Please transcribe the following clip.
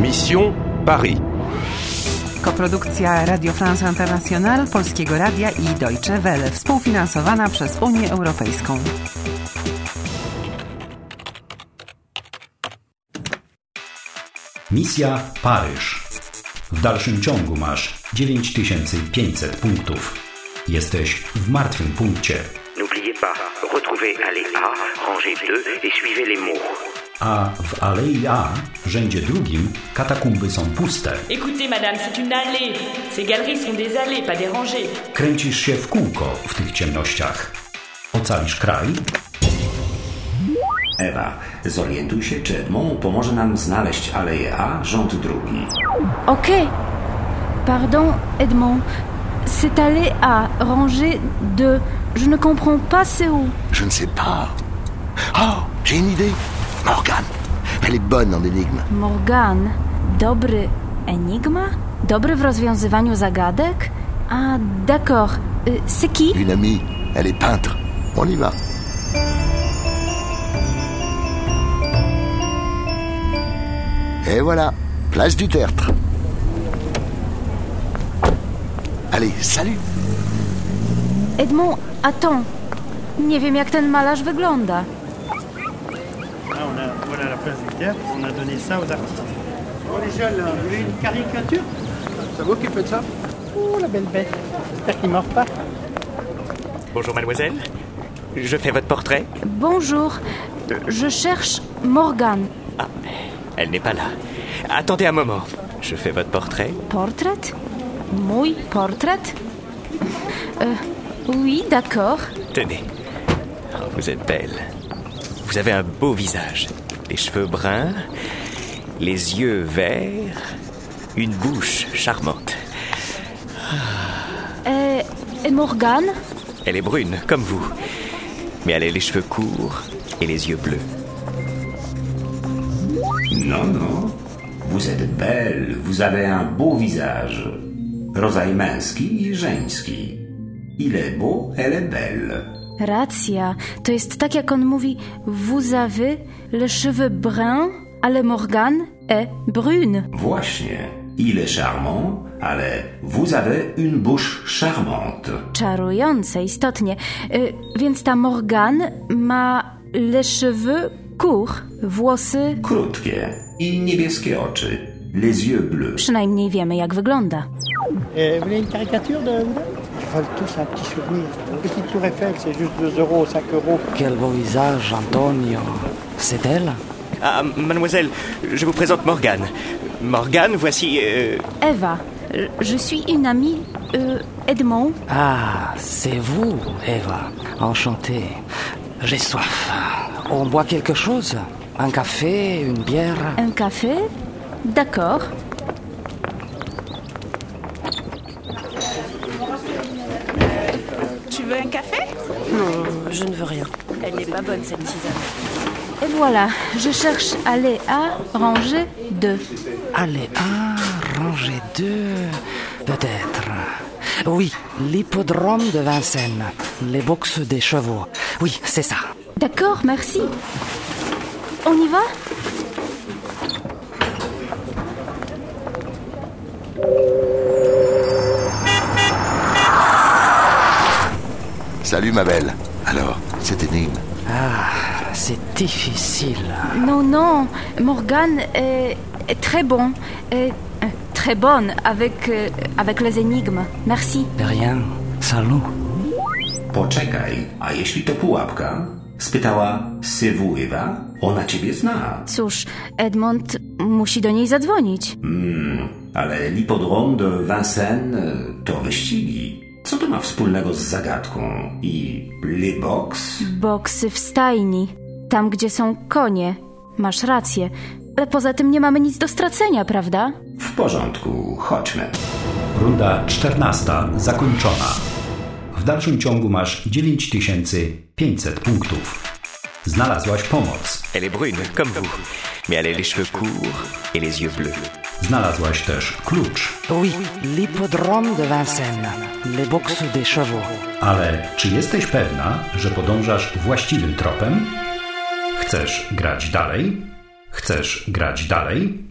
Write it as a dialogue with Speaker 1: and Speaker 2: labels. Speaker 1: Mission Paris.
Speaker 2: Koprodukcja Radio France International, Polskiego Radia i Deutsche Welle, współfinansowana przez Unię Europejską.
Speaker 3: Misja Paryż. W dalszym ciągu masz 9500 punktów. Jesteś w martwym punkcie,
Speaker 4: N'oubliez pas, retrouvez allée A, rangée 2 et suivez les mots.
Speaker 3: a w Alei A, rzędzie drugim, katakumby są puste.
Speaker 5: Écoutez, madame, c'est une allée. Ces galeries sont des allées, pas des rangées.
Speaker 3: Kręcisz się w kółko w tych ciemnościach. Ocalisz kraj?
Speaker 6: Ewa, zorientuj się, czy Edmond pomoże nam znaleźć Aleję A, rząd drugi.
Speaker 7: Ok. Pardon, Edmond. C'est allé à ranger de... Je ne comprends pas c'est où.
Speaker 8: Je ne sais pas. Oh, j'ai une idée. Morgane. Elle est bonne en énigme.
Speaker 7: Morgan. Dobry enigma Dobry w rozwiązywaniu zagadek Ah, d'accord. Euh, c'est qui
Speaker 8: Une amie. Elle est peintre. On y va. Et voilà. Place du tertre. Allez, salut
Speaker 7: Edmond, attends. Nie wiem, jak ten malarz wygląda.
Speaker 9: Là, on a, voilà la place du théâtre, on a donné ça aux artistes. Bon, Oh, les jeunes, là, vous voulez une caricature C'est vous qui faites ça Oh, la belle bête. J'espère qu'il ne mord pas.
Speaker 4: Bonjour mademoiselle, je fais votre portrait
Speaker 7: Bonjour. Je cherche Morgan.
Speaker 4: Elle n'est pas là. Attendez un moment, je fais votre portrait.
Speaker 7: Portrait Mój portrait Euh, Oui, d'accord.
Speaker 4: Tenez, Oh, vous êtes belle. Vous avez un beau visage, les cheveux bruns, les yeux verts, une bouche charmante.
Speaker 7: Et, Euh, et Morgan
Speaker 4: Elle est brune, comme vous, mais elle a les cheveux courts et les yeux bleus.
Speaker 6: Non, non. Vous êtes belle, vous avez un beau visage. Rodzaj męski i żeński. Il est beau, elle est belle.
Speaker 7: Racja. To jest tak, jak on mówi Vous avez les cheveux bruns, ale Morgan est brune.
Speaker 6: Właśnie. Il est charmant, ale vous avez une bouche charmante.
Speaker 7: Czarujące, istotnie. Y, więc ta Morgan ma les cheveux courts, włosy...
Speaker 6: Krótkie i niebieskie oczy. Les yeux bleus.
Speaker 7: Przynajmniej wiemy, jak wygląda.
Speaker 9: Et vous voulez une caricature de Oudin Ils veulent tous un petit souvenir. Une petite tour Eiffel, c'est juste 2 euros, 5 euros.
Speaker 10: Quel beau visage, Antonio. C'est elle
Speaker 4: Ah, mademoiselle, je vous présente Morgane. Morgane, voici... euh,
Speaker 7: Ewa, y, je suis une amie y, Edmond.
Speaker 10: Ah, c'est vous, Eva. Enchanté. J'ai soif. On boit quelque chose Un café, une bière
Speaker 7: Un café D'accord.
Speaker 11: Tu veux un café Non, je ne veux rien. Elle n'est pas bonne cette tisane.
Speaker 7: Et voilà, je cherche aller à ranger 2.
Speaker 10: Allez, un, rangée deux, peut-être. Oui, l'hippodrome de Vincennes. Les boxes des chevaux. Oui, c'est ça.
Speaker 7: D'accord, merci. On y va
Speaker 8: Salut ma belle. Alors, cette énigme,
Speaker 10: Ah, c'est difficile.
Speaker 7: Non, non, Morgane est, est très bon. Est, euh, très bonne avec, euh, avec les énigmes. Merci.
Speaker 10: De rien. Salut.
Speaker 6: Poczekaj, a jeśli to pułapka? Spytała Sywu Ewa. Ona ciebie zna.
Speaker 7: Cóż, Edmond musi do niej zadzwonić.
Speaker 6: Hmm, Ale Lipodrom de Vincennes e, to wyścigi. Co to ma wspólnego z zagadką? I Le Box?
Speaker 7: Boksy w stajni, tam gdzie są konie. Masz rację. Ale poza tym nie mamy nic do stracenia, prawda?
Speaker 6: W porządku, chodźmy.
Speaker 3: Runda 14 zakończona. W dalszym ciągu masz 9500 punktów. Znalazłaś pomoc.
Speaker 4: Elle est brune, comme vous, mais elle a les cheveux courts et les yeux bleus.
Speaker 3: Znalazłaś też klucz.
Speaker 10: Oui, l'hippodrome de Vincennes. Les boxes des chevaux.
Speaker 3: Ale czy jesteś pewna, że podążasz właściwym tropem? Chcesz grać dalej? Chcesz grać dalej?